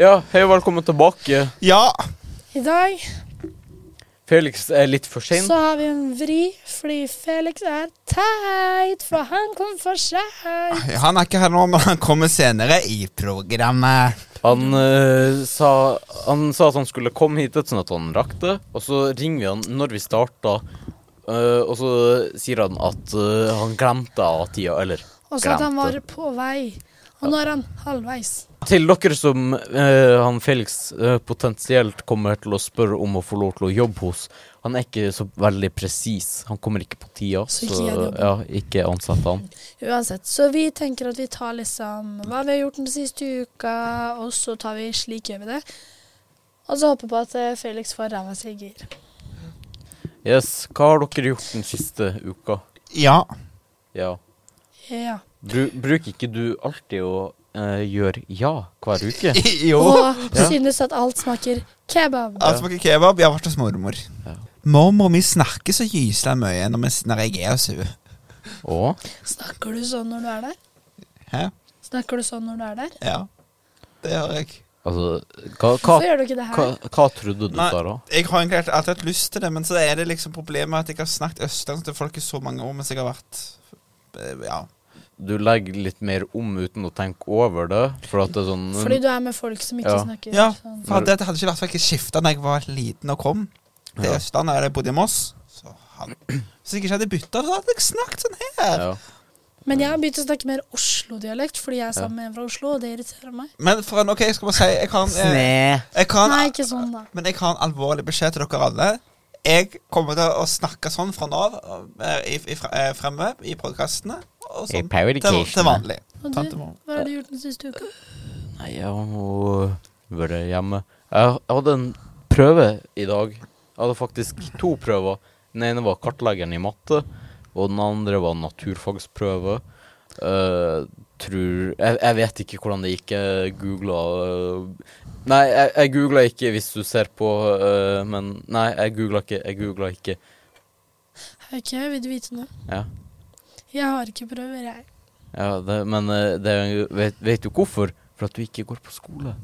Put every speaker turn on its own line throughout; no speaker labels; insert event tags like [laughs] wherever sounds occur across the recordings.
Ja, hei og velkommen tilbake.
Ja.
I dag
Felix er litt for sein.
så har vi en vri fordi Felix er teit, for han kom for seint.
Han er ikke her nå, men han kommer senere i programmet.
Han, eh, sa, han sa at han skulle komme hit, sånn at han rakk det. Og så ringer vi han når vi starta, eh, og så sier han at eh, han glemte av tida, eller
Og så at han var
glemte.
på vei. Og nå er han halvveis.
Til dere som eh, han Felix eh, potensielt kommer til å spørre om å få lov til å jobbe hos, han er ikke så veldig presis. Han kommer ikke på tida, så,
Så ikke gjør jobben.
ja, ikke ansett han.
Uansett, så vi tenker at vi tar liksom hva vi har gjort den siste uka, og så tar vi slik gjør vi det. Og så håper vi på at eh, Felix får ræva si i gir.
Yes, hva har dere gjort den siste uka?
Ja.
Ja.
Ja.
Bru, bruker ikke du alltid å eh, gjøre ja hver
[laughs]
uke?
[laughs] Jo.
Og
Ja.
synes at alt smaker kebab.
Jeg smaker kebab. Jeg har vært hos mormor.
Ja.
Mormor mi snakker så gyselig mye når vi- når jeg er hos henne.
Å?
Snakker du sånn når du er der?
Hæ?
Snakker du sånn når du er der?
Ja. Det gjør jeg.
Altså, hva, hva,
Hvorfor gjør du ikke det
hva,
her?
hva trodde du,
Nei.
Sara?
Jeg har egentlig alltid hatt lyst til det, men så er det liksom problemet at jeg har snakket østlandsk til folk i så mange år mens jeg har vært eh, Ja.
Du legger litt mer om uten å tenke over det, for at det er sånn
Fordi du er med folk som ikke
Ja.
snakker
Ja,
sånn.
for det hadde ikke vært for jeg skifta da jeg var liten og kom til
Ja.
Østlandet, eller jeg bodde i Moss. Så han, hvis jeg ikke hadde bytta, så hadde jeg snakket sånn her.
ja.
Men jeg har begynt å snakke mer Oslo-dialekt, fordi jeg er sammen med en fra Oslo, og det irriterer meg.
Men for en, ok, jeg skal bare si Jeg kan, eh,
Sne.
jeg kan,
Nei, ikke sånn, da.
Men jeg har en alvorlig beskjed til dere alle. Jeg kommer til å snakke sånn fra nå av eh, i, i, fra- eh, fremme i podkastene. Og
I
sånn til,
Powercation.
til vanlig.
Og
Tante
du,
Mo.
hva har du gjort den siste uka?
Nei, jeg har nå vært hjemme. Jeg, jeg hadde en prøve i dag. Jeg hadde faktisk to prøver. Den ene var kartleggeren i matte, og den andre var naturfagsprøve. Eh, tror jeg, jeg vet ikke hvordan det gikk. Jeg googla Nei, jeg, jeg googla ikke hvis du ser på, eh, men Nei, jeg googla ikke. Jeg googla ikke.
Ok, vil du vite noe?
Ja.
Jeg har ikke prøver, jeg.
ja det, men eh, det, er jo- vet, vet du hvorfor? For at du ikke går på skole.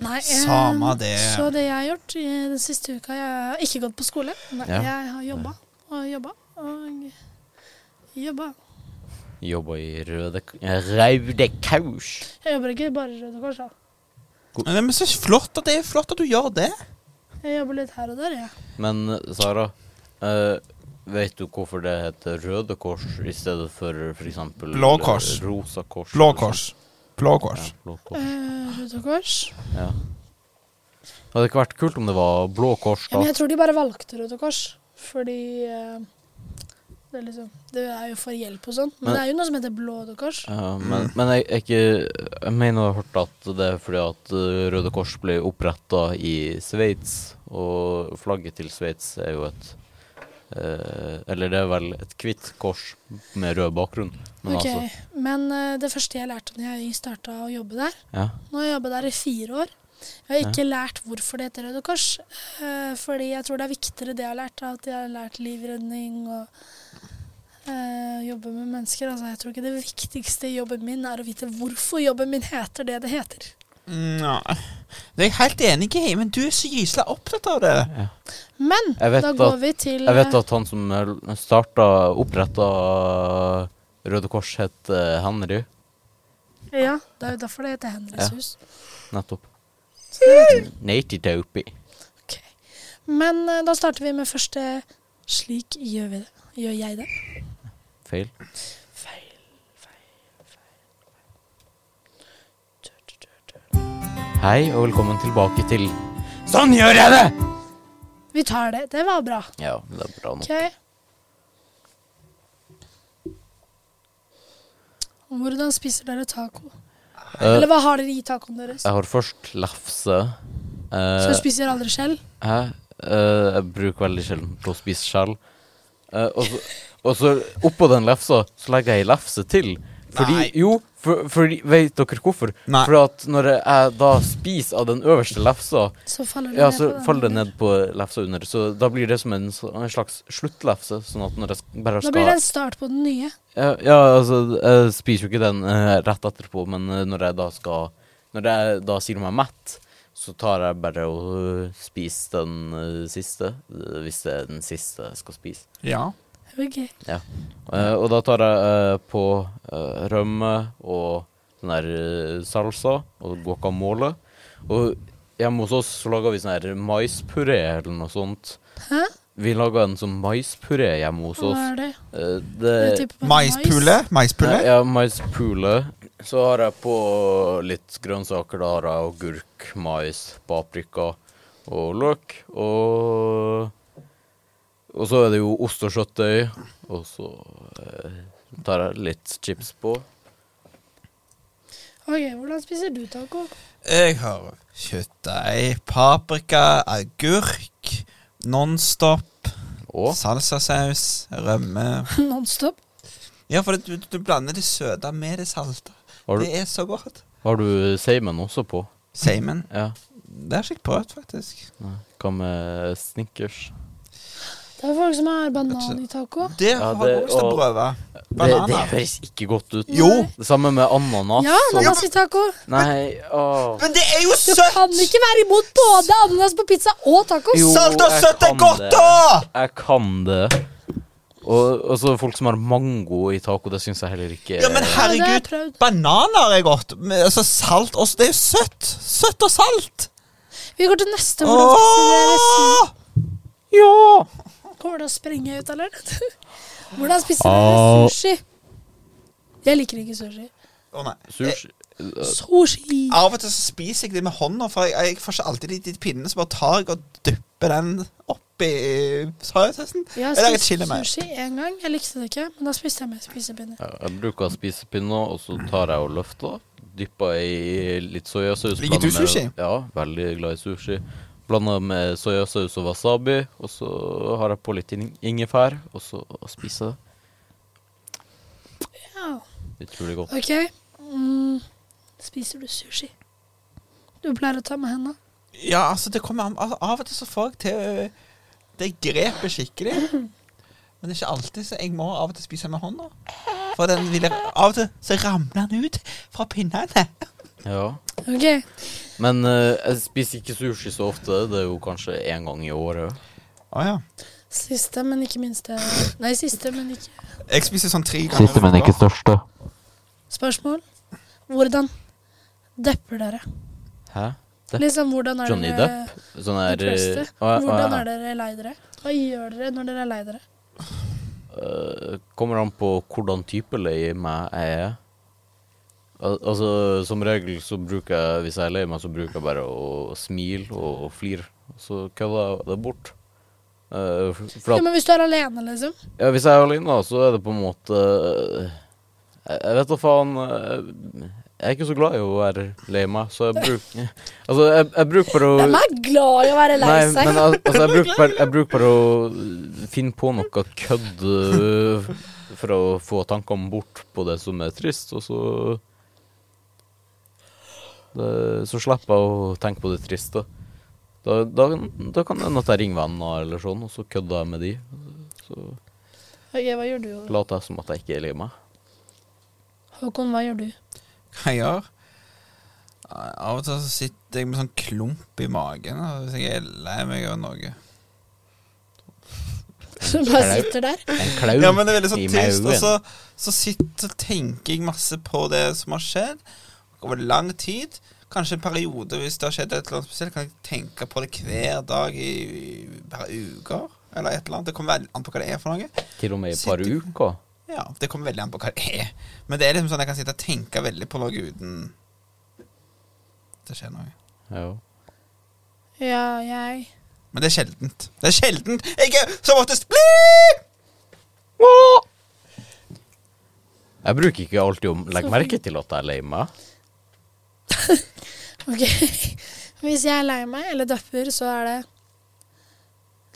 Nei, eh,
Samme det.
Så det jeg har gjort i den siste uka Jeg har ikke gått på skole. Nei,
Ja.
jeg har jobba og jobba og jobba.
Jobba i Røde Raude Kaus.
Jeg jobber ikke bare i Røde Kors, da.
Men, men så flott at det er flott at du gjør det.
Jeg jobber litt her og der, jeg.
Men eh, Sara, eh, vet du hvorfor det heter Røde Kors i stedet for f.eks.
Blå kors.
Rosa Kors?
Blå kors. Blå kors.
Ja, blå kors.
Eh, Røde Kors.
Ja. Hadde det ikke vært kult om det var Blå Kors,
Ja,
da?
men jeg tror de bare valgte Røde Kors fordi eh, det, er liksom, det er jo for hjelp og sånn. Men
Men-
det er jo noe som heter Blå Røde Kors.
Ja, men men jeg, jeg, ikke, jeg mener å ha hørt at det er fordi at eh, Røde Kors ble oppretta i Sveits, og flagget til Sveits er jo et eh, Eller det er vel et hvitt kors med rød bakgrunn. Men
ok,
altså
Men eh, det første jeg lærte da jeg starta å jobbe der
Ja.
Nå har jeg jobba der i fire år. Jeg har ikke lært hvorfor det heter Røde Kors. eh, fordi jeg tror det er viktigere det jeg har lært, at jeg har lært livredning og eh, jobbe med mennesker. Altså, jeg tror ikke det viktigste i jobben min er å vite hvorfor jobben min heter det det heter.
Mm, ja. Det er jeg helt enig i, men du er så gyselig opptatt av det.
Men
Jeg vet
da
at-
går vi til
Jeg vet
eh,
at han som starta oppretta Røde Kors, het eh, Henry.
eh, Ja, det er jo derfor det heter Henrys
Ja.
hus.
Nettopp.
Så det vet du.
Naty Taupy.
Ok. Men eh, da starter vi med første Slik gjør vi det. Gjør jeg det?
Feil.
Feil, feil, feil.
Hei, og velkommen tilbake til Sånn gjør jeg det!
Vi tar det. Det var bra.
Ja, det er bra nå.
OK. Hvordan spiser dere taco?
Eh,
Eller hva har dere i tacoen deres?
jeg har først lefse. Eh,
Så spiser dere aldri selv?
Hæ? Eh, jeg bruker veldig sjelden til å spise skjell. Eh, og, så, og så oppå den lefsa så legger jeg ei lefse til. Fordi,
Nei.
Jo, for, fordi- vet dere hvorfor?
Nei.
For at når jeg da spiser av den øverste lefsa,
Så faller det
ja,
ned på
så
den
faller det
andre.
ned på lefsa under. Så da blir det som en, s- en slags sluttlefse. Sånn at når jeg sk- bare
Da blir det
skal
en start på den nye.
ja, ja, altså, jeg spiser jo ikke den eh, rett etterpå, men eh, når jeg da skal Når Når jeg da sier meg mett, så tar jeg bare og eh, spiser den eh, siste, eh, hvis det er den siste jeg skal spise.
Ja.
Ok.
Eh, og da tar jeg eh, på eh, rømme og sånn der eh, salsa og guacamole. Og hjemme hos oss så lager vi sånn her maispuré eller noe sånt.
Hæ?
Vi lager en sånn maispuré hjemme hos
Hva
oss.
er det?
Eh,
Er det
det
type bare
Maispule. Maispule.
Nei, Ja, maispule. Så har jeg på litt grønnsaker. Da har jeg agurk, mais, paprika og løk. Og Og så er det jo ost og kjøttdeig. Og så eh, tar jeg litt chips på.
Ok, hvordan spiser du taco? [laughs]
Jeg har kjøttdeig, paprika, agurk, Nonstop,
Og
salsasaus, rømme
Nonstop?
Ja, for du, du blander det søte med det salte.
har du,
Det er så godt.
har du seimen også på?
Seimen.
Ja.
Det har ikke jeg prøvd, faktisk.
Nei. Hva med snickers?
Det er folk som har banan i taco.
Det
Ja,
har
det-
jeg lyst til å
og-
prøve.
Det, det
Bananer.
høres ikke godt ut.
Jo.
Det samme med ananas.
Ja,
og-
ananas i taco.
Nei, åh.
Men det er jo
Du kan
søtt!
ikke være imot både ananas på pizza og taco.
Jo,
Salt og
jeg
søtt er
kan
godt,
det.
da!
Jeg kan det. Og, og så folk som har mango i taco, det syns jeg heller ikke
Ja, men
er-
Ja, det har jeg
herregud.
prøvd.
Bananer er godt. Men, Altså, salt også. Det er jo søtt. Søtt og salt.
Vi går til neste. Hvordan spiser dere resten?
Åh!
Ja!
Kommer det å sprenge ut, eller? [laughs] Hvordan spiser dere sushi? Jeg liker ikke sushi.
Å, nei. Eh,
Sushi Eh,
Sushi.
Av og til så spiser jeg det med hånda, for jeg, jeg får ikke alltid de, de pinnene, så bare tar jeg og dypper den oppi sausen.
Jeg
Eller
har
jeg chiller
spist
meg.
sushi én gang. Jeg likte det ikke, men da spiste jeg med spisepinner.
Ja, Jeg bruker å spise pinner, og så tar jeg og løfter. Dypper i litt soyasaus.
Liker du
blander med-
sushi?
Ja, veldig glad i sushi. Blander med soyasaus og wasabi, og så har jeg på litt in- ingefær, og så spiser
Ja.
jeg. Utrolig godt.
Ok. Mm. Spiser du sushi? Du pleier å ta med hendene.
Ja, altså, det kommer an altså, Av og til så får jeg til ø, Det grepet skikkelig. Men det er ikke alltid, så jeg må av og til spise med hånda. For den vil jeg, Av og til så ramler den ut fra pinnene.
Ja.
Ok.
Men eh, jeg spiser ikke sushi så ofte. Det er jo kanskje én gang i året.
Å ja.
Siste, men ikke minste. Nei, siste, men ikke
Jeg spiser sånn tre ganger. i uka.
største.
Spørsmål? Hvordan depper dere?
Hæ? Depp?
Liksom, hvordan er
Johnny
dere
Depp? Sånn
De
her
fleste.
eh, å, ja, å,
Hvordan
ja.
er dere lei dere? Hva gjør dere når dere er lei dere?
Eh, Kommer an på hvordan type lei meg jeg er. Al altså, som regel så bruker jeg, hvis jeg er lei meg, så bruker jeg bare å smile og flire. Så kødder jeg det bort. Eh, f- for
Ja,
at,
men hvis du er alene, liksom.
ja, hvis jeg er alene, da, så er det på en måte eh, Jeg jeg vet da faen eh, Jeg er ikke så glad i å være lei meg, så jeg bruker [laughs] Altså, jeg, jeg bruker bare å
Hvem er glad i å være lei
Nei,
seg?
men al altså, jeg [laughs] bruker, bare, jeg bruker bare å øh, finne på noe kødd øh, for å få tankene bort på det som er trist, og så det, Så slipper jeg å tenke på det triste. Da, da, da kan det hende at jeg ringer venner eller sånn, og så kødder jeg med de. Så
Ok, hva gjør du?
later jeg som at jeg ikke er lei meg.
Håkon, hva gjør du?
Hva jeg gjør? Av og til så sitter jeg med sånn klump i magen og hvis jeg er lei meg av noe.
Som bare sitter der?
En klau
Ja, men det er veldig sånn
i
tyst, og
mauen.
så, så sitter, tenker jeg masse på det som har skjedd over lang tid. Kanskje en periode, hvis det har skjedd et eller annet spesielt, kan jeg tenke på det hver dag i et par uker. Eller et eller annet. Det kommer veldig an på hva det er for noe.
Til og med i et par
Sitter-
uker.
Ja, det kommer veldig an på hva det er. Men det er liksom sånn jeg kan sitte og tenke veldig på noe uten det skjer noe.
Ja.
Ja, jeg
Men det er sjeldent. Det er sjeldent! Jeg er som oftest blid!
Jeg bruker ikke alltid å legge merke til at jeg er lei meg.
Ok. [laughs] Hvis jeg er lei meg eller depper, så er det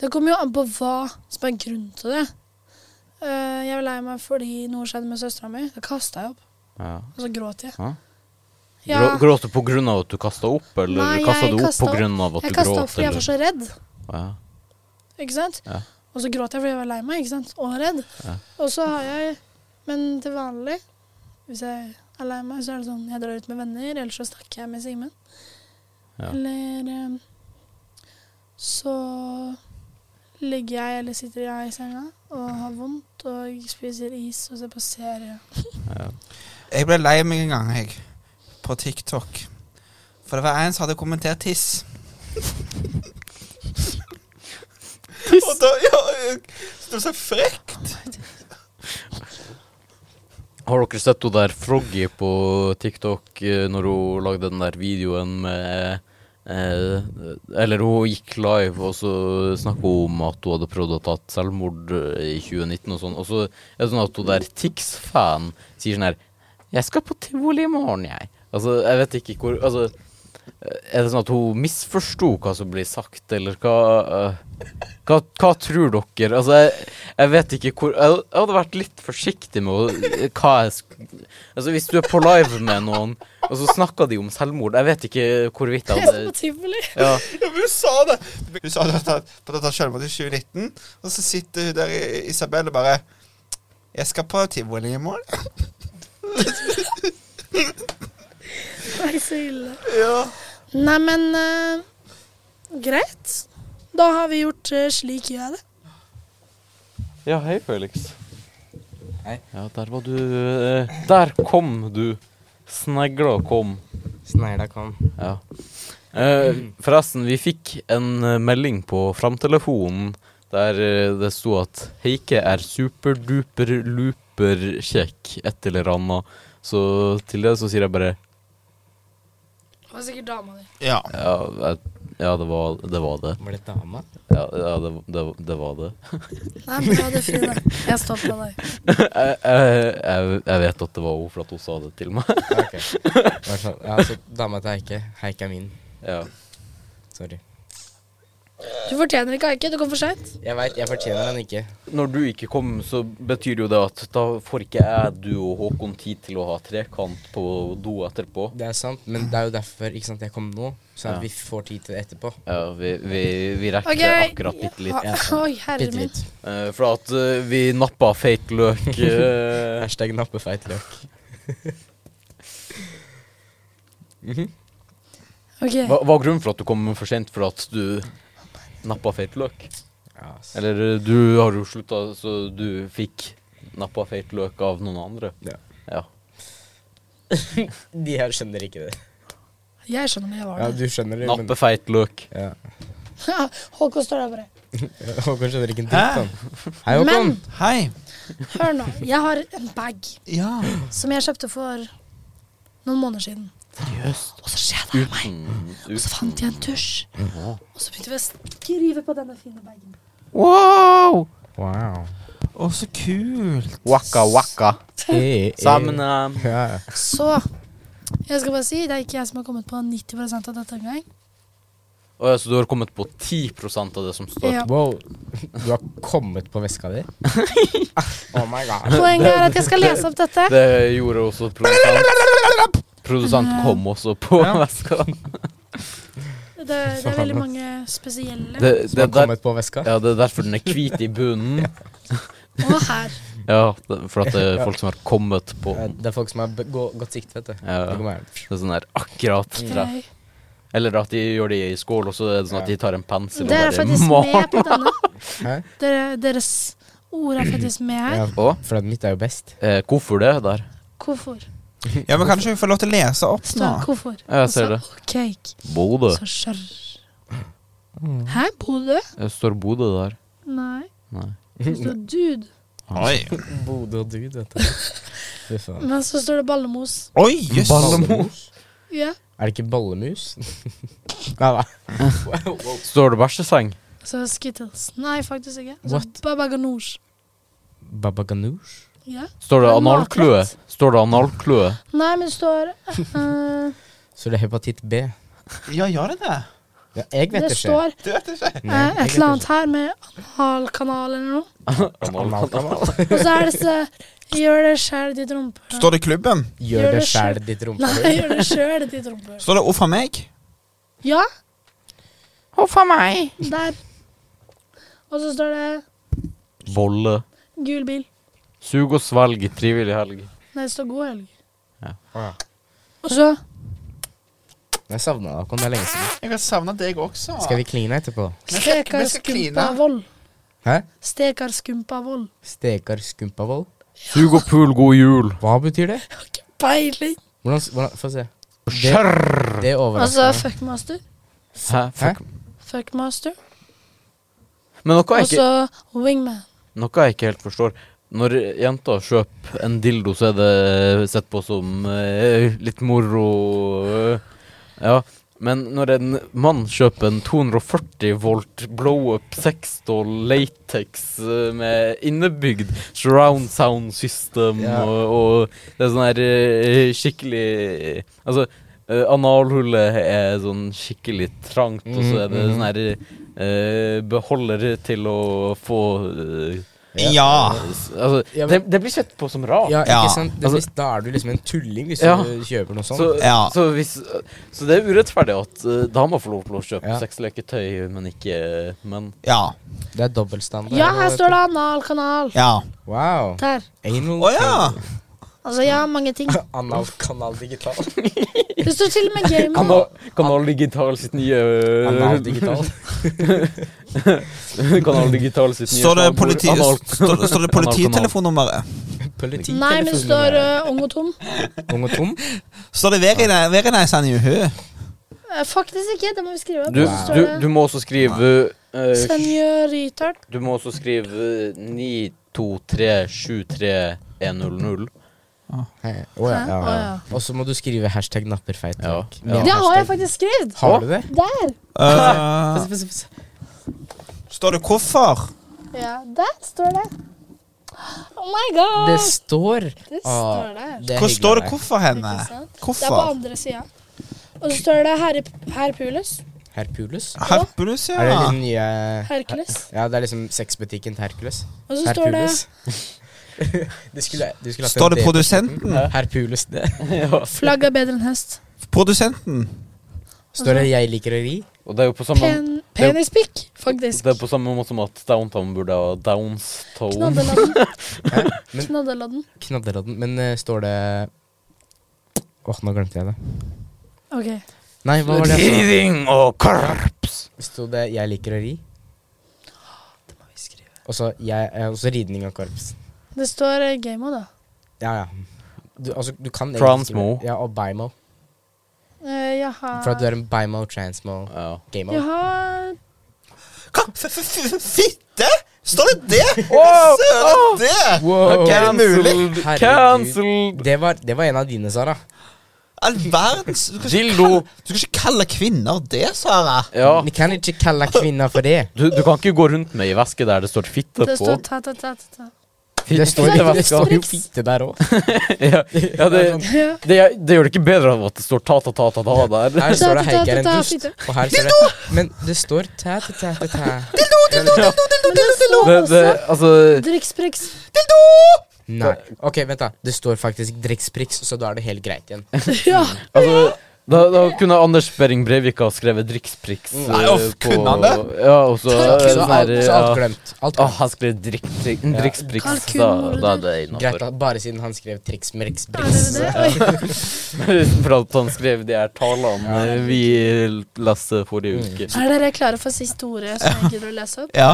Det kommer jo an på hva som er grunnen til det. Eh, jeg var lei meg fordi noe skjedde med søstera mi. Da kasta jeg opp,
Ja.
og så gråt jeg.
Hæ?
Ja,
Grå, gråt du på grunn av at du kasta opp, eller
Nei,
kasta
jeg
du opp
kastet
på
opp.
grunn av at
jeg
du
kasta opp
gråt?
fordi jeg var
Eller?
så redd.
Ja.
Ikke sant?
Ja.
Og så gråt jeg fordi jeg var lei meg ikke sant? og redd.
Ja.
Og så har jeg Men til vanlig, hvis jeg er lei meg, så er det sånn jeg drar ut med venner, eller så snakker jeg med Simen.
Ja.
Eller eh, så ligger jeg eller sitter jeg i senga og har vondt og spiser is og ser på serie.
Ja.
Jeg ble lei meg en gang, jeg, på TikTok. For det var en som hadde kommentert tiss. tiss? Og da, ja, jeg- det var så frekt.
Har dere sett hun der Froggy på TikTok eh, når hun lagde den der videoen med eh, Eller hun gikk live, og så snakka hun om at hun hadde prøvd å ta et selvmord eh, i 2019 og sånn. Og så er det sånn at hun der Tix-fan sier sånn her Jeg skal på tivoli i morgen, jeg. Altså, jeg vet ikke hvor Altså, er det sånn at hun misforsto hva som blir sagt, eller hva eh, hva, hva tror dere? Altså, jeg, jeg vet ikke hvor jeg, jeg hadde vært litt forsiktig med å, eh, hva jeg sk- Altså, hvis du er på live med noen, og så snakker de om selvmord Jeg vet ikke hvorvidt jeg
[laughs] Jeg skal på
hadde
tivoli.
ja,
Ja, men hun sa det. Hun sa det at hun hadde tatt selvmord i 2019, og så sitter hun der, i- Isabel, og bare Jeg skal på tivoli i morgen.
Nei, så ille.
Ja.
Nei, men eh, greit. Da har vi gjort eh, slik gjør jeg det.
ja, hei, Felix.
Hei.
Ja, der var du eh, Der kom du. Snegla kom.
Snegla kom.
Ja. Eh, forresten, vi fikk en eh, melding på framtelefonen der eh, det sto at Heike er superduper-looper-kjekk, et eller annet. Så til det så sier jeg bare
Det var sikkert dama di.
ja.
Ja, jeg, ja det, var, det var det.
Var det dama?
Ja, ja det, det, det var det. [laughs]
Nei, bra, det er fint. da. Jeg er stolt av deg.
jeg, jeg, jeg- jeg vet at det var hun, for at hun sa det til meg. [laughs]
[laughs] Ok. Bare sånn. Ja, så dama til Heike. Heike er min.
ja.
Sorry.
Du fortjener ikke Aike, du kom for seint.
Jeg veit, jeg fortjener den ikke.
Når du ikke kom, så betyr jo det at da får ikke jeg, du og Håkon tid til å ha trekant på do etterpå.
Det er sant, men det er jo derfor ikke sant, jeg kom nå. Sånn
Ja.
at vi får tid til det etterpå.
Ja, vi, vi, vi rekker
Ok.
akkurat bitte litt.
ja.
Oi, herre
Bitte
min.
litt.
Eh, for at eh, vi nappa feit løk eh,
Hashtag nappefeit løk.
Ok,
hva, hva er grunnen for at du kom for sent? For at du nappa feit løk?
Ja, ass.
Eller eh, du har jo slutta, så du fikk nappa feit løk av noen andre?
Ja.
Ja.
De her skjønner ikke det.
jeg skjønner men jeg var
Ja,
der.
du skjønner det, men
Nappe feit løk.
ja. [laughs]
Ja, [laughs] Håkon står der bare.
Håkon skjønner ikke en
Hæ?
dritt, han. Hei, Håkon.
Men
Hei.
hør nå, jeg har en bag
Ja.
som jeg kjøpte for noen måneder siden.
Seriøst?
Og så skjedde det med meg.
Uten,
Og så
uten
fant jeg en tusj. Og så begynte vi å skrive på denne fine bagen.
Wow!
Wow.
Å, så kult.
Waka waka.
Eh, eh.
Sammen eh,
Ja.
Så jeg skal bare si, det er ikke jeg som har kommet på 90 av dette engang.
Å ja, Så du har kommet på 10 av det som står?
Ja.
Wow, du har kommet på veska [laughs] di? oh my god.
Poenget er at jeg skal lese opp dette.
Det gjorde også produsent. Produsent kom også på veska.
Det, det er veldig mange spesielle.
Det,
Du har
det der,
kommet på veska?
ja, det er derfor den er hvit i bunnen.
Og her.
Ja, det- for at det er folk som har kommet på
Ja,
den.
Det er folk som har be- gå- godt sikt, vet du.
Ja.
Det kommer her.
Det er sånn der akkurat treff.
Ok.
Eller at de gjør det i skål, og så er det sånn at de tar en pensel og
Dere er
bare
faktisk med på denne.
Hæ?
Dere, deres ord er faktisk med her.
Ja,
Å,
for den mitt er jo best.
eh, hvorfor det der?
Hvorfor?
Ja, men kanskje vi får lov til å lese opp
Står
nå?
hvorfor?
Ja, jeg ser det.
Og så Cake.
Bodø.
Så skjørr. Hæ, Bodø?
Det Eh, står Bodø der.
Nei.
Nei.
Det står dude.
Oi.
Bodø og dude, vet du. [laughs] Fy faen.
Men så står det ballemos.
Oi, jøss.
Ballemus?
Ja.
Er det ikke ballemus? [laughs] Nei, hva?
Står det bæsjeseng?
Så er det Skittles. Nei, faktisk ikke. Så
What?
Baba Ganoush.
Baba ganoush?
Ja.
Står det
Det er
analkløe?
matrett.
Står det analkløe?
Nei, men det står eh,
Så det er hepatitt B.
Ja, gjør det det?
Ja, jeg vet
Det
det ikke.
står
Du vet ikke.
eh, et eller annet her med analkanal eller noe. [laughs]
Analkanal.
Og så er det så Gjør det sjæl, ditt rumpehull.
Står det klubben?
Gjør det sjæl, ditt
Nei,
rumpehull.
gjør det sjøl, ditt rumpehull.
Står det 'Å, for meg'?
Ja,
Huff a meg.
der. Og så står det
Bolle.
gul bil.
Sug og svelg. Trivelig helg.
Nei, det står god helg.
Å, ja.
Og så
Jeg savna deg, Håkon. Det er lenge siden.
Jeg har savna deg også.
Skal vi kline etterpå?
Vi skal- vi
stekar
skal kline.
skumpavoll.
Hæ?
Stekar skumpavoll.
Stekar skumpavoll?
Sug og pul, god jul.
Hva betyr det?
Jeg har ikke peiling.
Hvordan, hvordan Få se. Det,
Skjørr!
det
Altså,
overrasker meg.
fuckmaster.
Hæ? Fuck.
Fuckmaster.
Men noe
Og
jeg, ikke,
så wingman.
noe jeg ikke helt forstår. Når jenter kjøper en dildo, så er det sett på som eh, litt moro. eh, ja. Men når en mann kjøper en 240 volt blow-up sexdoll latex eh, med innebygd surround sound system
Ja.
og, og det er sånn her eh, skikkelig Altså, eh, analhullet er sånn skikkelig trangt, og så er det
Mm,
sånn her eh, beholder til å få eh,
Ja.
s- Altså,
Ja,
det,
men-
det blir sett på som rart.
Ja,
Ja.
ikke sant? Det,
Altså-
da er du liksom en tulling hvis
Ja.
du kjøper noe sånt.
Så,
Ja.
sånn. så, hvis, så det er urettferdig at eh, damer får lov til å kjøpe
Ja.
sexleketøy, men ikke menn.
Ja.
det er dobbeltstandard.
Ja, her står det analkanal.
Ja.
Wow.
Der.
Anal
Å
[laughs]
ja.
Altså, jeg har
[laughs]
mange ting.
Analkanal digital.
Det står til og med gaming.
Kanal, kanal Digital sitt nye eh, [laughs]
Anal digital.
Kanal Digital sitt nye
Står det,
slagord.
politi
Anal-
står, står det polititelefonnummeret?
Politi,
Nei, men det står eh, ung og tom.
Ung og tom?
Står det Verine- Verine Sandjuhu?
[laughs]
Eh, Faktisk ikke, det må vi skrive.
Du,
Så står
du,
det
du må også skrive eh,
Senjoriter.
Du må også skrive 92373100.
[laughs]
Hei.
Hæ?
Å ja, ja,
Å
ja.
ja.
Og så må du skrive hashtag napperfeit.
Ja.
Med
Det har jeg
hashtag-
faktisk skrevet.
Har du det?
Der.
Eh,
Få se, få se, få se.
står det hvorfor?
Ja, der står det. Oh my god!
Det står
Det
Ah,
står der.
Hvor
er hyggelig
står det
av deg.
hvorfor henne?
Ikke sant? Det er på
Hvorfor?
andre sida. Og så står det Herre- Herpulus.
Hercules?
Herpulus,
Er det
ja.
den nye
Hercules.
Ja, det er liksom sexbutikken til Hercules.
Og så står det
Hercules. [laughs] du skulle, du skulle hatt en
Står det
del-
produsenten?
Hercules, det.
Flagg er bedre enn hest.
Produsenten.
Altså-
Står det 'jeg liker å ri'?
Og det er jo på samme
Pen, penispikk, faktisk.
Det er på samme måte som at Downtown burde ha Downstone.
Knaddeladden.
Men-
Knaddeladden.
Knadderodden. Men eh, står det Åh, nå glemte jeg det.
Ok.
Nei, hva var det jeg
Tiding og korps!
sa? Sto det 'jeg liker å ri'? Og så jeg- eh, og så ridning av korps.
Det står eh, Gamo, da.
Ja, ja. Du, altså, du kan egentlig
Transmo.
skrive- Ja, og bimo.
Eh, Jeg
For at du
har
er en bimo, transmo,
Ja.
gamo.
Jeg har
Hva? F- f- f- Fitte? Står det det? Søren, det!
Wow.
Er det mulig?
Herregud.
Cancelled!
Det, var, det var en av dine, Sara.
All verdens Du skal ikke
Dildo.
kalle, du skal ikke kalle kvinner det, Sara.
Ja.
Vi kan ikke kalle kvinner for det.
Du, du kan ikke gå rundt med ei veske der det står fitte
Det
på.
står ta-ta-ta-ta.
Fitte-
Det står,
fitteveska.
det står jo
Fittebriks.
fitte der òg.
ja, ja, det, det, det gjør det ikke bedre av at det står ta-ta-ta-ta der.
Her står det
Ta, ta, ta,
'Heike er en
ta, ta,
dust'.
fitte.
Og her står det Men det står tæ, tæ, tæ, tæ,
Men
tæ.
det
[laughs] Det,
står
det,
også
altså
Drikkspriks.
Nei. Ok, vent, da. Det står faktisk Drexprix, så da er det helt greit igjen.
Ja.
Altså, da, da kunne Anders Behring Breivik ha skrevet Drikspriks
Nei, uff, kunne han det?
Ja, og så
Så alt, så
sånn her,
alt
ja.
glemt.
Å,
Alt glemt.
han skrev Drikspriks,
Ja.
Drikspriks
Kalkun,
da,
morder.
da er det
Greit,
innafor.
da. Bare siden han skrev
Er det
Trixmerksbrix.
det? Oi.
[laughs] For at han skrev de her talene vi leste forrige uke.
Er dere klare for siste ordet som jeg gidder å lese opp?
Ja.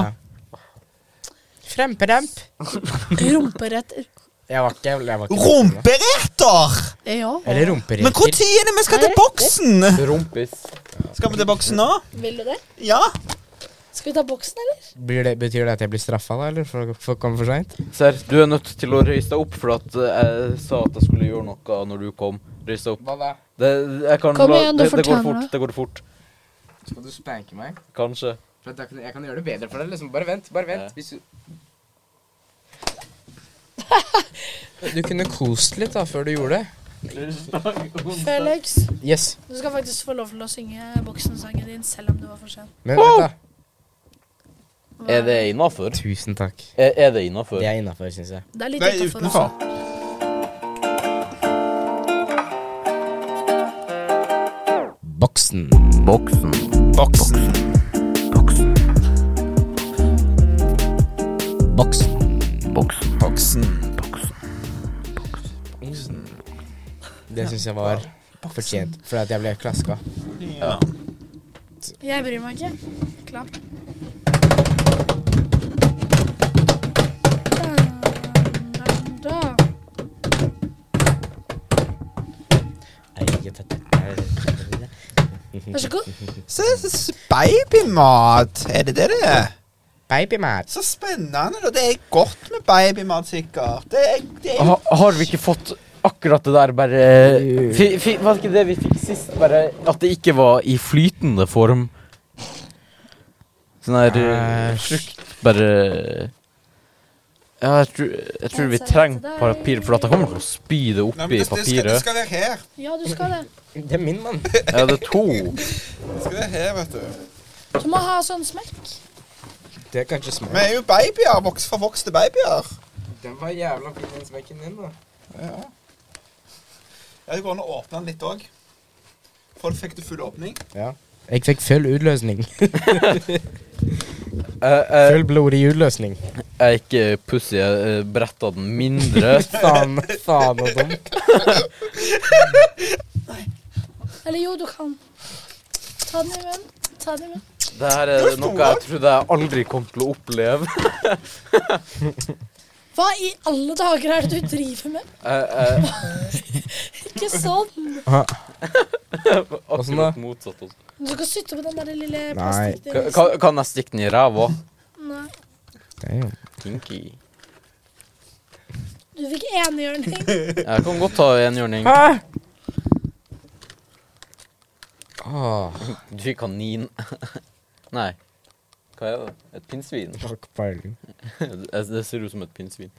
Frempedamp.
Rumperetter.
Jeg var ikke jeg var ikke
Rumpereter!
Ja.
Eller
Men
rumpereker.
når er det vi skal til boksen?
Rumpis.
Skal vi til boksen nå?
Vil du det?
Ja.
Skal vi ta boksen, eller?
Blir det, betyr det at jeg blir straffa, da? Eller for for å komme for seint?
Serr, du er nødt til å røyse deg opp, for at eh, jeg sa at jeg skulle gjøre noe når du kom. Røys deg opp.
Hva da?
Det, jeg kan
Kom igjen, du
det, det går
fortjener
fort.
det.
Det går fort.
Skal du spanke meg?
Kanskje.
For at jeg, kan, jeg kan gjøre det bedre for deg. liksom. Bare vent. bare vent.
Ja.
Hvis du... [laughs] du kunne kost litt da, før du gjorde det.
Felix,
Yes.
du skal faktisk få lov til å synge boksen-sangen din selv om du var for sen.
Men vent, da.
Hva
Er det innafor?
Tusen takk.
Er, er det innafor?
Det er innafor, syns jeg.
Det er litt
Nei,
utenfor.
utenfor.
altså.
Boksen.
Boksen.
Boksen.
Boksen.
Boksen.
Boksen.
Boksen.
Det syns jeg var fortjent, for at jeg ble klaska.
Ja.
altså. Jeg bryr meg ikke. Klapp. Da, da, da. Vær så god.
Se, se, se, babymat. Er det det det er?
Babymat.
Så spennende. Og det er godt med babymat, sikkert. Det er, det er
Ha, har vi ikke fått akkurat det der, bare eh, fi, fi, Var det ikke det vi fikk sist, bare at det ikke var i flytende form? Sånn der eh, frukt bare Ja, jeg tror, jeg tror vi trenger papir, for at jeg kommer til å spy det
Nei, men
oppi
det, det, skal, det
papiret.
skal være her.
Ja, du skal det.
Det er min mann.
Ja, det er to.
Det skal være her, vet du.
Du må ha sånn smekk.
[laughs] Det er kanskje smart.
Vi er jo babyer. Voks forvokste babyer.
Den var jævla fin, den smekken din, da.
Ja. ja, det går an å åpne den litt òg. For fikk du full åpning.
Ja. Jeg fikk full utløsning.
Jeg, jeg,
Full blodig utløsning.
jeg er ikke pussig, jeg eh, bretta den mindre.
[laughs] Faen, faen og dumt.
Eller jo, du kan. Ta den i munnen. Ta den i munnen.
Det her er noe jeg trodde jeg aldri kom til å oppleve.
Hva i alle dager er det du driver med?
Jeg,
Ikke sånn.
Ah,
jeg,
Åssen
[laughs]
da?
akkurat motsatt. også.
Du skal sitte på den der lille
Nei.
Ka-
plastikken.
Kan, kan jeg stikke den i ræva?
Nei.
Kinky.
Du fikk enhjørning.
Jeg kan godt ta enhjørning.
Ah! Åh,
Du fikk kanin. [laughs] Nei. Hva er det? Et [laughs] pinnsvin?
takk, peiling.
Det det ser ut som et pinnsvin.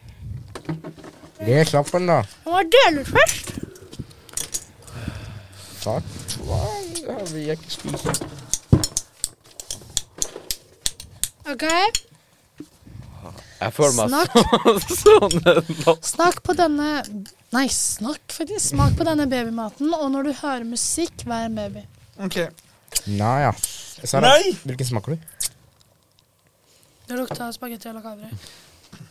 Det er slappen, da.
Han var dødlurt først.
Fuck. Hva vil jeg ikke spise?
OK.
Jeg føler meg
Snakk,
[laughs] sånn en lapp.
snakk på denne Nei, snakk faktisk. Smak på denne babymaten, og når du hører musikk, vær en baby.
Ok.
Nei, ja. Sara,
Nei!
hvilken smaker du?
Det lukta spagetti og lacavre.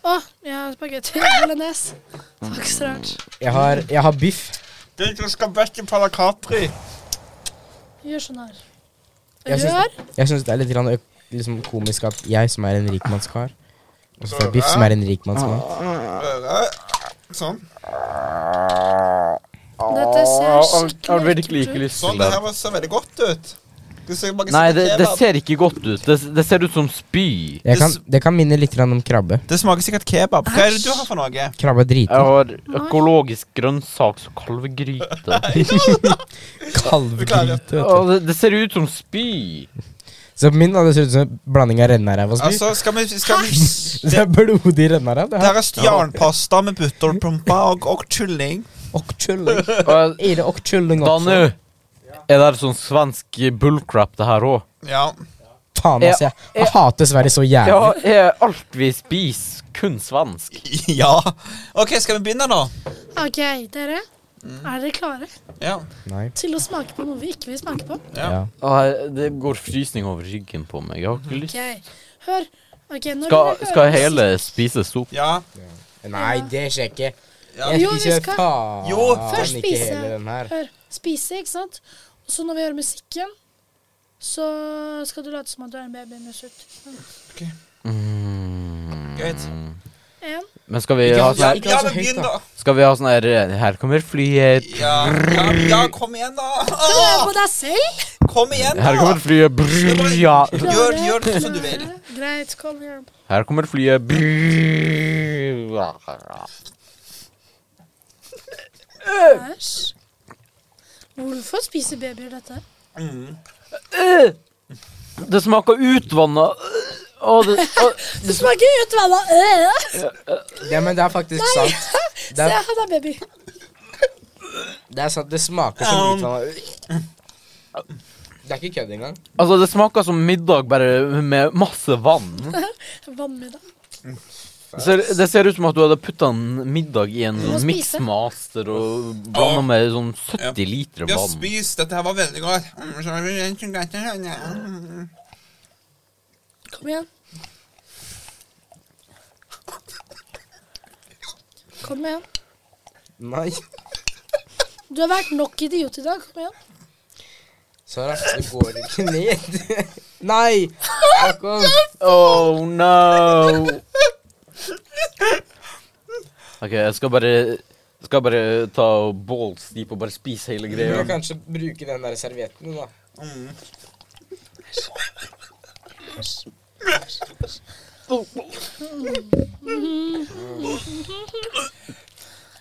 Å, jeg har spagetti bolognese. Det var ikke så rart.
Jeg har, jeg har biff.
Det er ikke skabetti palacatri.
Gjør sånn her.
Jeg syns-
Rør.
Jeg syns det er litt grann, ø- liksom, komisk at jeg som er en rikmannskar, og så får jeg biff
Sara?
som er en rikmannsmann.
Øre. Sånn.
Dette ser
Jeg har
skikkelig
virkelig ikke
ekkelt ut.
lyst
Sånn,
til
det
det.
her var- så veldig godt ut. Det ser mange
Nei,
smaker
det, det
kebab.
ser ikke godt ut. Det, det ser ut som spy.
Jeg kan, det kan minne litt grann om krabbe.
Det smaker sikkert kebab. Hva er det du har for noe?
Krabbe er
Jeg
[laughs] driten.
har økologisk grønnsaks- og [laughs] kalvegryte.
Kalvegryte. vet du.
Å, det, det ser ut som spy.
Så på min da, det ser ut som en blanding av rennaræv og spy.
Altså, skal vi, skal vi
Det er blodig rennaræv, det
Der
her.
er stjernpasta med butterpumpa og, og kylling.
Og kylling.
Og jeg-
Er det og kylling
Danu,
også?
er det sånn svensk bullcrap, det her òg?
Ja. [laughs]
Faen, ass. Jeg, jeg hater Sverige så
Ja,
jævlig.
er alt vi spiser kun svensk?
ja. OK, skal vi begynne nå?
OK, dere. Er dere klare
Ja.
Nei.
til å smake på noe vi ikke vil smake på?
Ja.
Ja.
Ah, det går frysning over ryggen på meg. Jeg har ikke lyst.
OK, hør. Ok, når
Skal,
dere hører
skal
musikk-
hele spises opp?
Ja.
Nei, det skjer ikke.
Ja.
Jeg
Jo, vi
spiser
skal-
faen
Jo,
først
ikke
spise.
hele den her.
Hør. Spise, ikke sant? Og så når vi hører musikken, så skal du late som at du er en baby med sutt.
Greit.
En.
Mm, Men skal vi
Ikke
ha
ha-
sånn her,
ikke ha så
men
høyt,
begynn,
da.
da.
skal vi ha sånn her Her kommer flyet.
Ja, ja, ja, kom igjen, da.
Hør
Ah,
på deg selv!
kom igjen,
Her
da.
kommer flyet. Brrr, ja.
Gjør, gjør det som du vil.
Greit, kom igjen.
Her kommer flyet. Brrr, ja.
Æsj. Hvorfor spiser babyer dette?
Mm.
Det smaker utvanna. Å, det, å,
Det smaker utvanna
Ja, men det er faktisk sant. Det
Øh. Se,
er,
han er baby.
det er sant, det smaker som
Um.
utvannet Det er ikke kødd engang.
altså, det smaker som middag, bare med masse vann.
Vannmiddag.
Det ser, det ser ut som at du hadde putta en middag i en
Du må spise.
miksmaster og blanda med sånn 70 liter
Ja,
vann.
spis. Dette her var veldig godt. Mm, så er det ikke greit å høre.
Kom igjen. Kom igjen.
Nei.
Du har vært nok idiot i dag. Kom igjen.
Sara, det går ikke ned. [laughs] Nei!
[laughs]
Håkon.
Oh no! OK, jeg skal bare skal bare ta balls deep og bare spise hele
Du
greia.
kan kanskje bruke den der servietten, din, da.
Mm.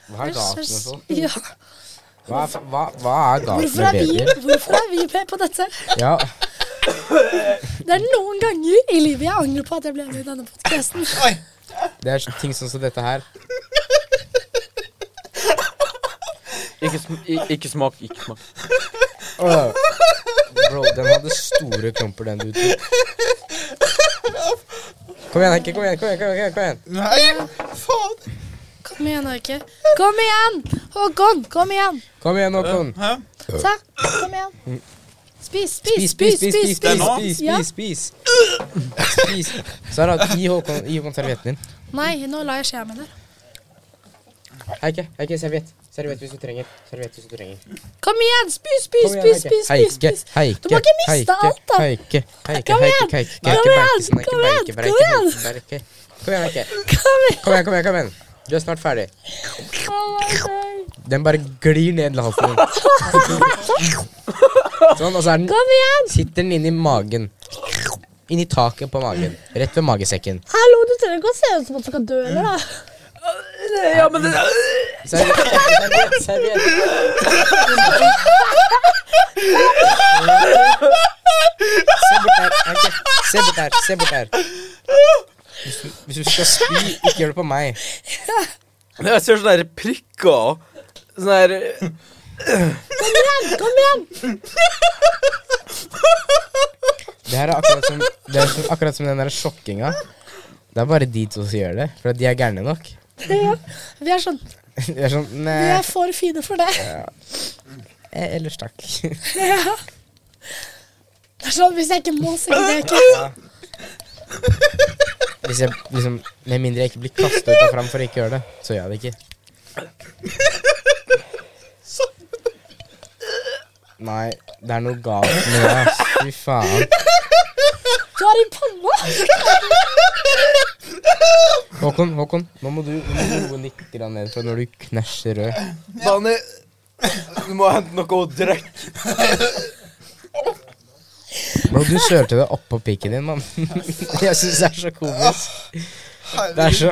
Hva er galt med folk?
Ja.
Hva, er- hva, hva sånn. er galt
Hvorfor, er
med
vi,
babyer?
[laughs] hvorfor er vi med på dette?
Ja,
Det er noen ganger i livet jeg angrer på at jeg ble med i denne podkasten.
Oi!
det er ting sånn som dette her.
Ikke, sm i- ikke smak, ikke smak.
Åh. Bro, den hadde store klumper, den du tok. Kom igjen, Hekke. Kom igjen. kom igjen, kom igjen, kom igjen.
Nei, faen!
Kom igjen, Aike. Kom igjen! Håkon, kom igjen!
Kom igjen, Håkon.
Hæ?
Ta. Kom igjen. Spis, spis,
Spis, spis, spis,
Det er
spis,
nå.
spis,
Ja.
spis, spis. spis. Sara, gi Håkon, gi Håkon servietten din.
Nei, nå lar jeg skjea mi der.
Heike, Heike, serviett. Serviett hvis du trenger. Serviett hvis du trenger.
Kom igjen! Spis, spis,
Kom igjen,
spis,
Heike.
spis, spis,
Heike,
spis.
Heike,
Du må ikke miste
Heike,
alt, da.
Heike, Heike,
Kom igjen,
Heike, Heike,
kom
Heike,
igjen,
Bergesen, Heike,
kom igjen,
Bergesen,
kom
Heike,
igjen.
Bergesen, Heike. Kom igjen, Heike.
Kom igjen!
Kom igjen, kom igjen, kom igjen. Du er snart ferdig.
Kom
Den bare glir ned til halsen din. Sånn, og så er den,
igjen!
sitter den inni magen. Inni taket på magen. Rett ved magesekken.
Hallo, du trenger ikke å se ut som at du skal dø, eller? da? [laughs]
Ja, men det
Serviett, serviett, serviett. Se bort der, Heike. Se bort der, se bort der. Hvis du, hvis du skal spy, ikke gjør det på meg.
Jeg ser sånne der prikker. Sånne der
Kom igjen! Kom igjen!
Det her er akkurat som, det er som, akkurat som den der sjokkinga. Det er bare de to som gjør det, for at de er gærne nok. [laughs]
Ja. Vi er sånn
De er sånn Nei,
Vi er for fine for det.
eh, ellers takk. [laughs]
Ja. Det er sånn, Hvis jeg ikke må, så gidder jeg ikke.
Hvis jeg liksom Med mindre jeg ikke blir kasta ut av fram for å ikke gjøre det, så gjør jeg det ikke. Nei, det er noe galt med det. ass. Fy faen.
Du har i panna!
Håkon, Håkon, nå må du, nå må du roe litt grann ned fra når du knæsjer rød.
Dani, du må hente noe å drikke.
Bro, du kjørte det oppå pikken din, mann. [laughs] Jeg syns det er så komisk. Det er så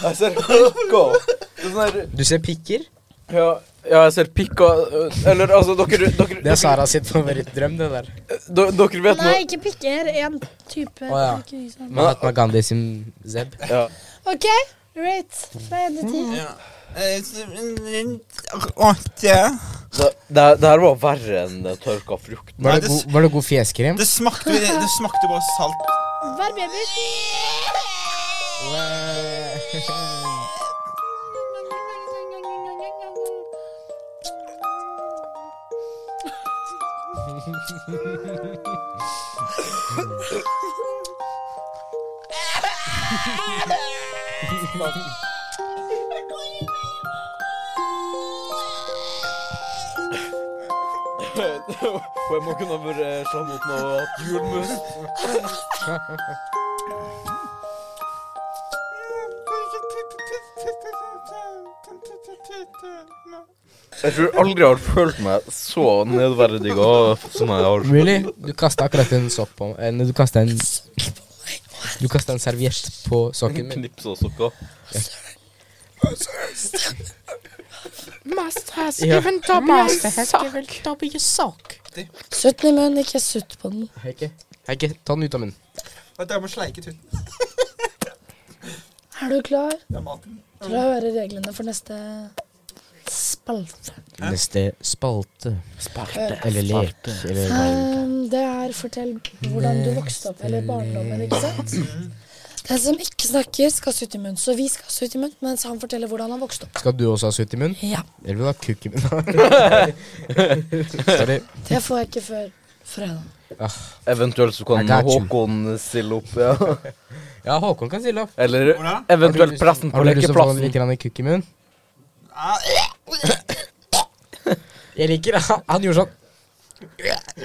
Jeg ser prikker. Det er Sånne der
Du ser pikker?
ja, ja, jeg ser pikker øh, Eller altså, dere Dere,
Det er Sara sitt favorittdrøm, det der.
dere, dere vet
Nei,
nå
ikke pikker. En type.
Å, ja.
ikke liksom.
Mahatma Gandhi sin zeb.
ja.
OK, rate fra én til ti.
Ja. Eh, så- mm, Åtte.
det, det, det her var verre enn det tørka frukt.
Var
Nei,
det
det
god, var det god fjeskrim?
Det smakte, det smakte bare salt.
Hver baby.
[laughs] Og jeg må kunne ha vært slem mot noe at julemus Jeg tror aldri jeg har følt meg så nedverdiga som jeg har.
Really? Du kasta akkurat en sopp på eh, nei, Du kasta en Du kasta en serviett på sokken min.
Knips og sokker.
Master has
Ja.
given Dobby a sock. Given Dobby a sock.
Sutt den i munnen, ikke sutt på den.
Heike, Heike, ta den ut av munnen.
Vent, jeg må sleike tuten.
Er du klar
Det er maten.
til å høre reglene for neste spalte?
Neste spalte. Spalte. Eller lek. Eller hva det er.
Um, det er fortell hvordan du vokste opp, eller barndommen, ikke sant? Den som ikke snakker, skal sutte i munnen. Så vi skal sutte i munnen, mens han forteller hvordan han vokste opp.
Skal du også ha sutt i munnen?
Ja,
Eller vil du ha kukk i munnen? [laughs] Sorry.
Det får jeg ikke før
[laughs]
fredag.
Eventuelt så kan
I got you.
Håkon stille opp. [laughs] ja
Ja, Håkon kan stille opp.
Eller
Hvordan?
eventuelt pressen på
Har du lyst til å få
lekeplassen.
litt grann kukk i munnen?
Ah,
Jeg liker han, [laughs] han gjorde sånn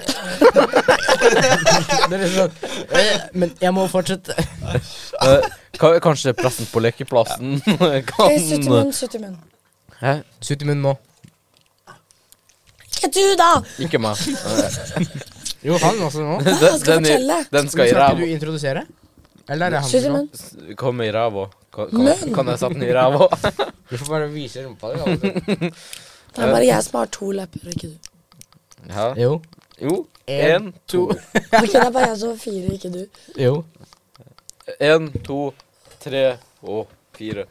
Det er liksom sånn eh, Men jeg må fortsette.
Eh, ka- kanskje pressen på lekeplassen [laughs] kan
Hey, sutt i munnen, sutt i munnen.
Hæ?
Sutt i munnen nå.
Ikke du, da!
Ikke meg. Eh,
Jo, han også nå.
den,
[laughs] Han skal
den i-
fortelle.
den skal i
Skal
ræva.
ikke du introdusere? Eller er det han
Sutt i
som skal?
munnen.
S- Kom i ræva. Kan, kan, kan jeg sette den i ræva?
[laughs] Du får bare vise rumpa di. altså.
Det er bare jeg som har to lepper, ikke du.
Hæ?
[laughs] Jo.
Jo. Én,
En,
to.
Ok, det er bare jeg som har fire, ikke du.
Jo.
Én, to, tre og fire.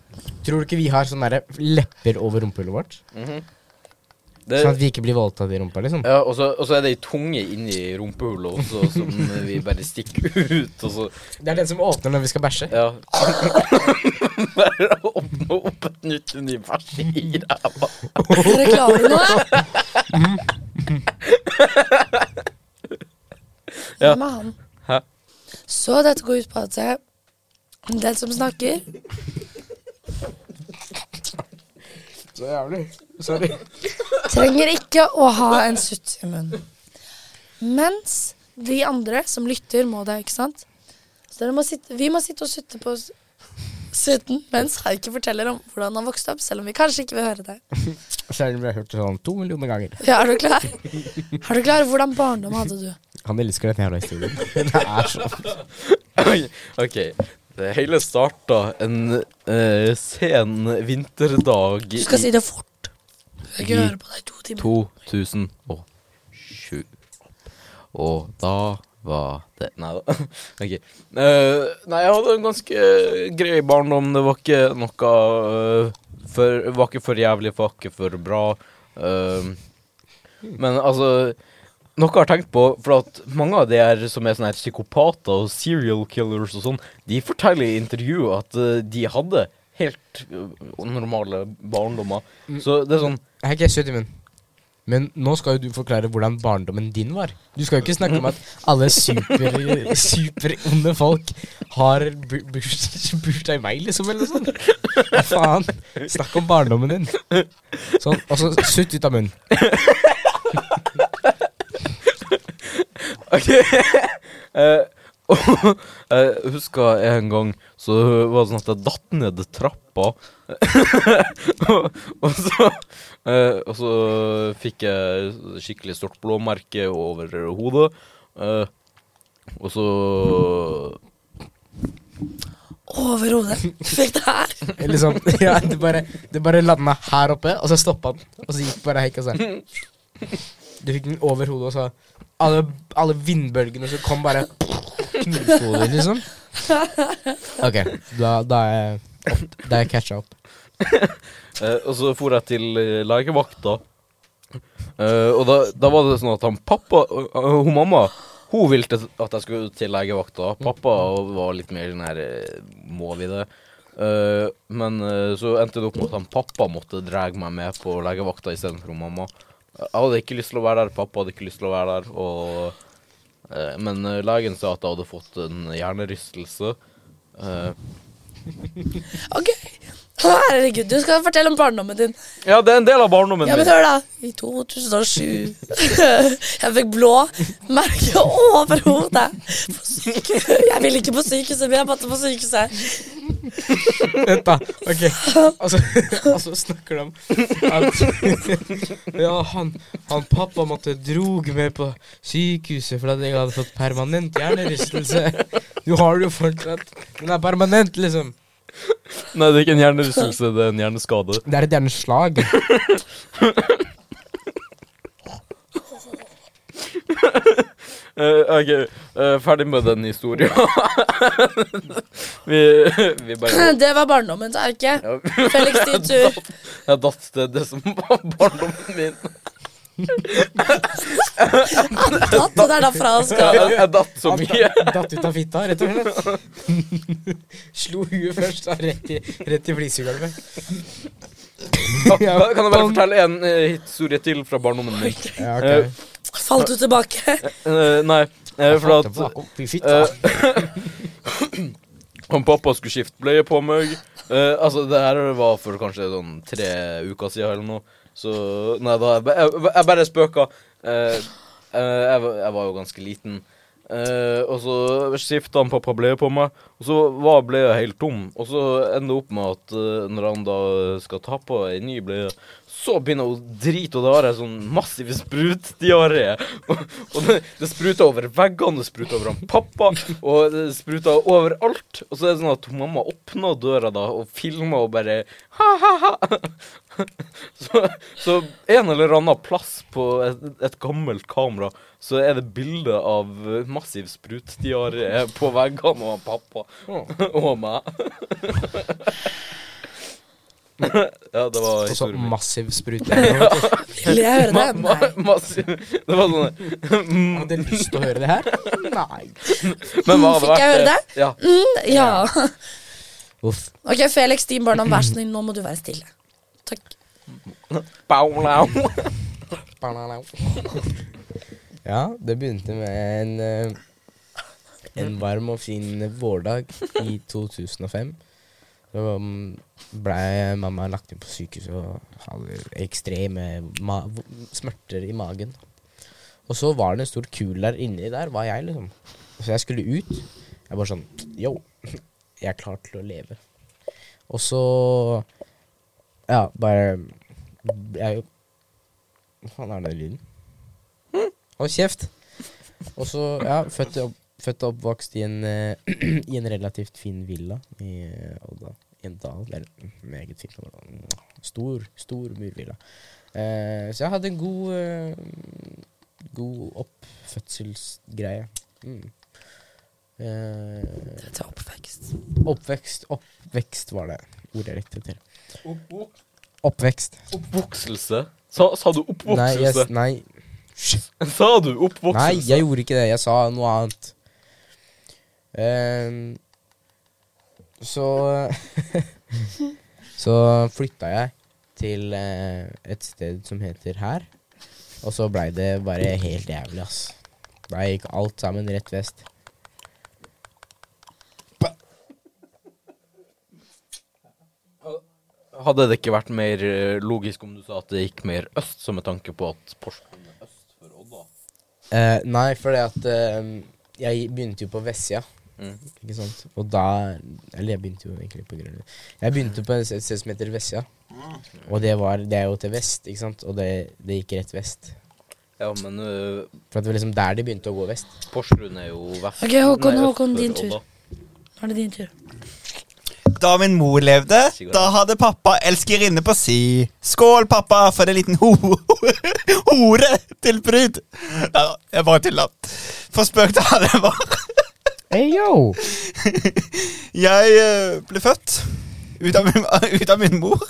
Tror du ikke vi har sånne der lepper over rumpehullet vårt?
Mhm.
Sånn at
det,
vi ikke blir voldtatt i rumpa, liksom?
ja, og, så, og så er det ei tunge inni rumpehullet også, som vi bare stikker ut, og så
Det er den som åpner når vi skal bæsje.
Ja. Bare åpne opp et nytt univers i ræva.
Dere klarer nå? [laughs]
Ja.
Hvem er han?
Hæ?
Så dette går ut på at jeg- den som snakker
Så jævlig. Sorry.
trenger ikke å ha en sutt i munnen. Mens de andre som lytter, må det, ikke sant? Så dere må sitte, vi må sitte og sutte på s- sutten mens Haiki forteller om hvordan han vokste opp, selv om vi kanskje ikke vil høre det.
Selv om jeg har hørt det sånn to millioner ganger.
Ja, er du
[laughs]
klar? Er du klar? Hvordan barndom hadde du?
Han elsker den jævla historien. [laughs] Det er så
Oi, OK. Det hele starta en eh, sen vinterdag
Du skal si
i
det fort. Jeg kan høre på deg i to timer.
2007. Og da var det Nei da. [laughs] OK. Eh, nei, jeg hadde en ganske eh, grei barndom. Det var ikke noe eh, for, det Var ikke for jævlig, var ikke for bra. Eh, men altså Noe jeg har tenkt på, for at mange av de her som er sånne her psykopater og serial killers og sånn, de forteller i intervju at eh, de hadde helt eh, normale barndommer. Så det er sånn
Hei, ikke søt i munnen. Men nå skal jo du forklare hvordan barndommen din var. Du skal jo ikke snakke om at alle super superonde folk har bu- burs- bursdag i meg, liksom, eller noe sånt. Hva faen? Snakk om barndommen din. Sånn, og så sutt ut av munnen.
Ok [laughs] Eh, [laughs] og Jeg husker en gang Så var det sånn at jeg datt ned trappa [laughs] og, og så eh, Og så fikk jeg skikkelig stort blåmerke over hodet eh, Og så
Over hodet. Fikk det her.
[laughs] Eller sånn. Ja, det bare, det bare landa her oppe, og så stoppa den. Og så gikk bare hekk og sånn. Du fikk den over hodet, og så Alle, alle vindbølgene som kom, bare knuste hodet, liksom. OK, da, da er jeg opp, Da er jeg catcha opp.
eh, Og så for jeg til eh, legevakta Eh, Og da, da var det sånn at han pappa og- og Hun mamma Hun ville at jeg skulle til legevakta Pappa var litt mer sånn her eh, Må vi det? Eh, men eh, så endte det opp med at han pappa måtte dra meg med på legevakta istedenfor hun mamma. Jeg hadde ikke lyst til å være der, pappa hadde ikke lyst til å være der. Og, eh, men eh, legen sa at jeg hadde fått en hjernerystelse. Eh,
Ok. Herregud, du skal fortelle om barndommen din.
ja, det er en del av barndommen
Ja, men
min.
hør da. I 2007 [laughs] Jeg fikk blå merke over hodet. På syke- Jeg ville ikke på sykehuset, men jeg måtte på sykehuset.
Vent, da. OK. Og [laughs] så, og så snakker de om at [laughs] Ja, han, han pappa måtte drog med på sykehuset fordi jeg hadde fått permanent hjernerystelse. Du har det jo fortsatt. Den er permanent, liksom.
Nei, det er ikke en hjernerystelse, det er en hjerneskade.
Det er et hjerneslag.
Eh, OK, eh, ferdig med den historien. [laughs] vi, vi bare
Det var barndommen, sa jeg ikke.
ja,
Felix din tur.
Jeg datt til det som [laughs] var barndommen min.
Tatt, det er derfra han
Jeg,
skal.
jeg, jeg [laughs] datt så
Han
mye.
datt- Datt ut av fitta, rett og slett. [laughs] Slo huet først, da, rett i, rett i flisegulvet.
Kan jeg bare fortelle en eh, historie til fra barndommen min?
Ja,
Eh,
Falt du tilbake?
Eh, nei, eh, for at
Tilbake opp i fitta. altså.
[clears throat] eh, Han pappa skulle skifte bleie på meg, Eh, altså, det her var for kanskje sånn tre uker siden eller noe. Så Nei da, jeg, ba- jeg, jeg bare spøka. Eh, eh, jeg, var- jeg var jo ganske liten. Eh, og så skifta han pappa bleie på meg, og så var bleia helt tom. Og så ender det opp med at eh, når han da skal ta på ei ny bleie, så begynner hun å drite, og da har jeg sånn massiv sprutdiaré. [laughs] Og, og det, det spruter over veggene, det spruter over han pappa, og det spruter overalt. Og så er det sånn at hun mamma åpner døra da og filmer og bare ha-ha-ha. [laughs] Så, så en eller annen plass på et, et gammelt kamera så er det bilde av eh, massiv sprutdiaré på veggene og han pappa og meg. ja, det var
Og så
historien min.
sånn massiv sprute.
Vil jeg høre det?
Ma- ma- massiv- Det var sånn [laughs]
Hadde jeg lyst til å høre det her? Nei.
Men hva hadde
Fikk jeg
vært
høre
Ja.
Mm, ja.
Uff.
Ok, Felix, din barndom, vær så snill, nå må du være stille. Takk.
Baulau.
[laughs] Ja, det begynte med en eh, En varm og fin vårdag i 2005. Så mm, ble mamma lagt inn på sykehuset og hadde ekstreme ma smerter i magen. Og så var det en stor kul der inni der, var jeg, liksom. Så jeg skulle ut. Jeg bare sånn Yo, jeg er klar til å leve. Og så Ja, bare Jeg Hva faen er den lyden? Hm? Hold kjeft! Og så, ja, født, og opp, født og oppvokst i en, eh, [clears throat] i en relativt fin villa i eh, Odda. I en dal. Det er en meget fin. Odda. Stor, stor murvilla. Eh, så jeg hadde en god eh, God oppfødselsgreie. Mm. Eh,
Dette er oppvekst.
Oppvekst, oppvekst var det ordet jeg likte til. Oppvekst.
Oppvokselse? Sa, sa du
Nei, jeg,
oppvokselse?
s- nei,
Sa du
nei,
oppvokselse?
jeg gjorde ikke det. Jeg sa noe annet. Ehm, så [laughs] Så flytta jeg til eh, et sted som heter her. Og så blei det bare helt jævlig, ass. Da gikk alt sammen rett vest.
Hadde det ikke vært mer eh, logisk om du sa at det gikk mer øst, så med tanke på at Porsgrunn er øst for Odda?
Eh, nei, fordi at eh, jeg begynte jo på vestsida.
Mm.
Ikke sant? Og da Eller jeg begynte jo egentlig på Grønland. Jeg begynte på et sted- et sted som heter Vestsida.
Mm.
Og det, var, det er jo til vest, ikke sant? Og det, det gikk rett vest.
Ja, men eh,
For at det var liksom der de begynte å gå vest.
Porsgrunn er jo vest.
Ok, Håkon,
nei, øst for
Håkon, din tur.
Odda.
Nå er det din tur.
Da min mor levde, da hadde pappa elskerinne på si. Skål, pappa, for en liten ho [laughs] hore til brud. Nei da, jeg bare tulla. For spøk da det var.
Hey, yo!
Jeg eh, ble født ut av, min, [laughs] ut av min mor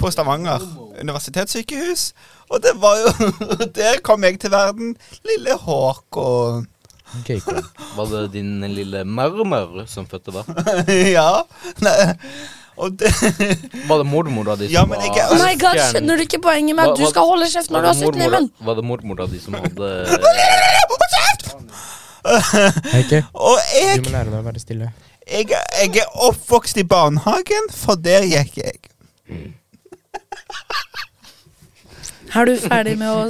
på Stavanger universitetssykehus. Og det var jo [laughs] Der kom jeg til verden. Lille Håkon. [laughs]
Okay, cool.
Var det din lille marmor som fødte deg?
Ja. Nei. Og det
Var det mormora di som
Ja, men ikke-
var
Oh
Oh my god,
elskeren?
skjønner du ikke poenget med
Hva-
at du
hva-
skal holde kjeft når du
Var
har
det
sutt
mormora-
neven?
Var det mormora di som hadde
Heike,
Og jeg
du må lære deg å være
[laughs]
stille.
Jeg, jeg er oppvokst i barnehagen, for der gikk jeg.
Er du ferdig med å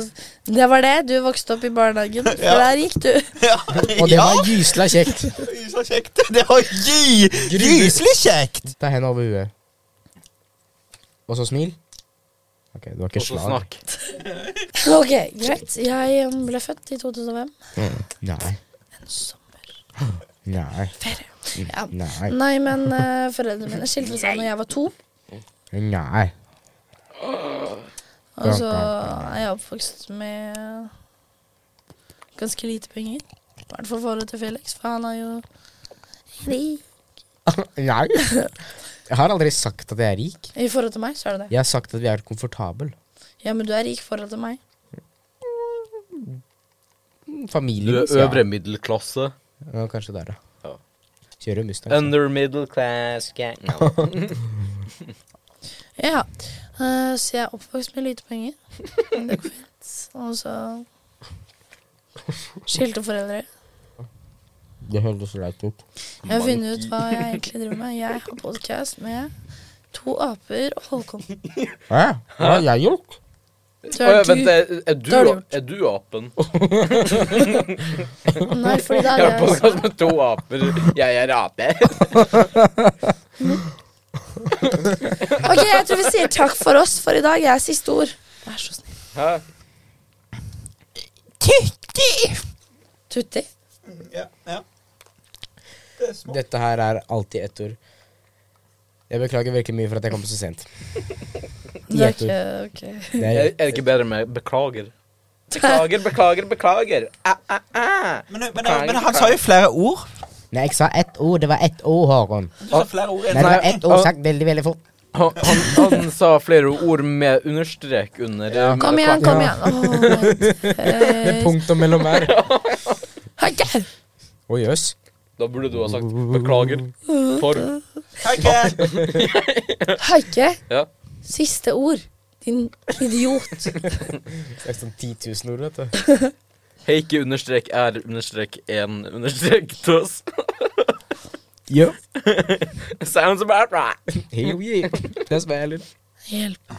[laughs] Det var det, du vokste opp i
[laughs]
barnehagen, for
Ja.
der gikk du.
Ja,
Og det var gysla kjekt.
så kjekt. Det var gy- gyselig kjekt.
Ta hendene over huet. Og så smil. Ok, det var ikke
Og så
slag.
snakk.
[laughs] Ok, greit. Jeg um, ble født i 2005.
Mm, Nei. [gasps] Nei. Mm,
Ja.
Nei.
Nei, men eh, foreldrene mine skilte seg når jeg var to.
Nei. [laughs]
Og så er jeg oppvokst med ganske lite penger. I hvert fall forholdet til Felix, for han er jo rik.
Nei. Jeg har aldri sagt at jeg er rik.
I forhold til meg, så er det det.
Jeg har sagt at vi er komfortable.
Ja, men du er rik i forhold til meg.
Du
Familien
er øvre middelklasse.
Ja, kanskje der, da.
Ja.
Kjører Mustang. så.
Under middle class
[laughs]
gang.
Ja. Eh, så jeg er oppvokst med lite
[laughs]
penger. Men Det går fint. Og så skilte foreldre.
Det høres leit ut.
Jeg har funnet ut hva jeg egentlig driver med. Jeg har podkast med to aper og Håkon.
Hæ? Hva har jeg gjort?
Så er
Åja, vent,
du-
er, er, du,
Da har du gjort.
er du apen?
Nei, fordi da
Jeg har
er jeg
podkast med to aper. Jeg er ape.
Ok, jeg tror vi sier takk for oss for i dag. Jeg er siste ord. Vær så snill.
Hæ?
Tutti.
Ja, ja. Det er små.
Dette her er alltid ett ord. Jeg beklager virkelig mye for at jeg kom så sent.
Det er
Ett ord.
ikke ok.
Det
Er,
er,
er det ikke bedre med beklager? Beklager, beklager, beklager. Æ, æ, æ.
Men, men, men, men han sa jo flere ord.
nei, jeg sa ett ord. Det var ett ord, Håkon.
Du sa flere ord.
Nei, det var
Nei,
ett ord sagt veldig, veldig fort.
Han, han, han sa flere ord med understrek under. eh,
Kom igjen, kom igjen.
Med
Åh,
punktum mellom hver.
Hei, Geir.
[laughs] Å jøs.
Da burde du ha sagt beklager for
Takk.
Haike,
Ja.
siste ord. Din idiot.
Det er sånn 10 000 ord, vet du.
Heike understrek er understrek en understrek tøs.
Ja.
[laughs] Sounds about right.
Jo, jo. Det smeller.
Hjelp.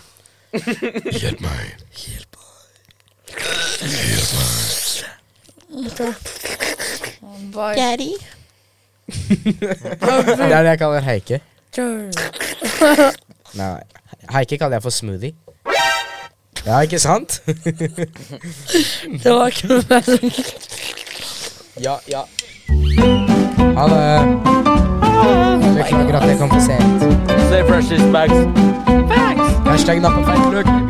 Bye.
Daddy.
Det er det jeg kaller haike.
Girl.
Nei, haike kaller jeg for smoothie. Ja, ikke sant?
[laughs] Det var ikke noe mer.
Ja, ja. Ha det. Beklager at jeg kom for sent.
Say fresh is bags.
Hashtag nappefeitløk.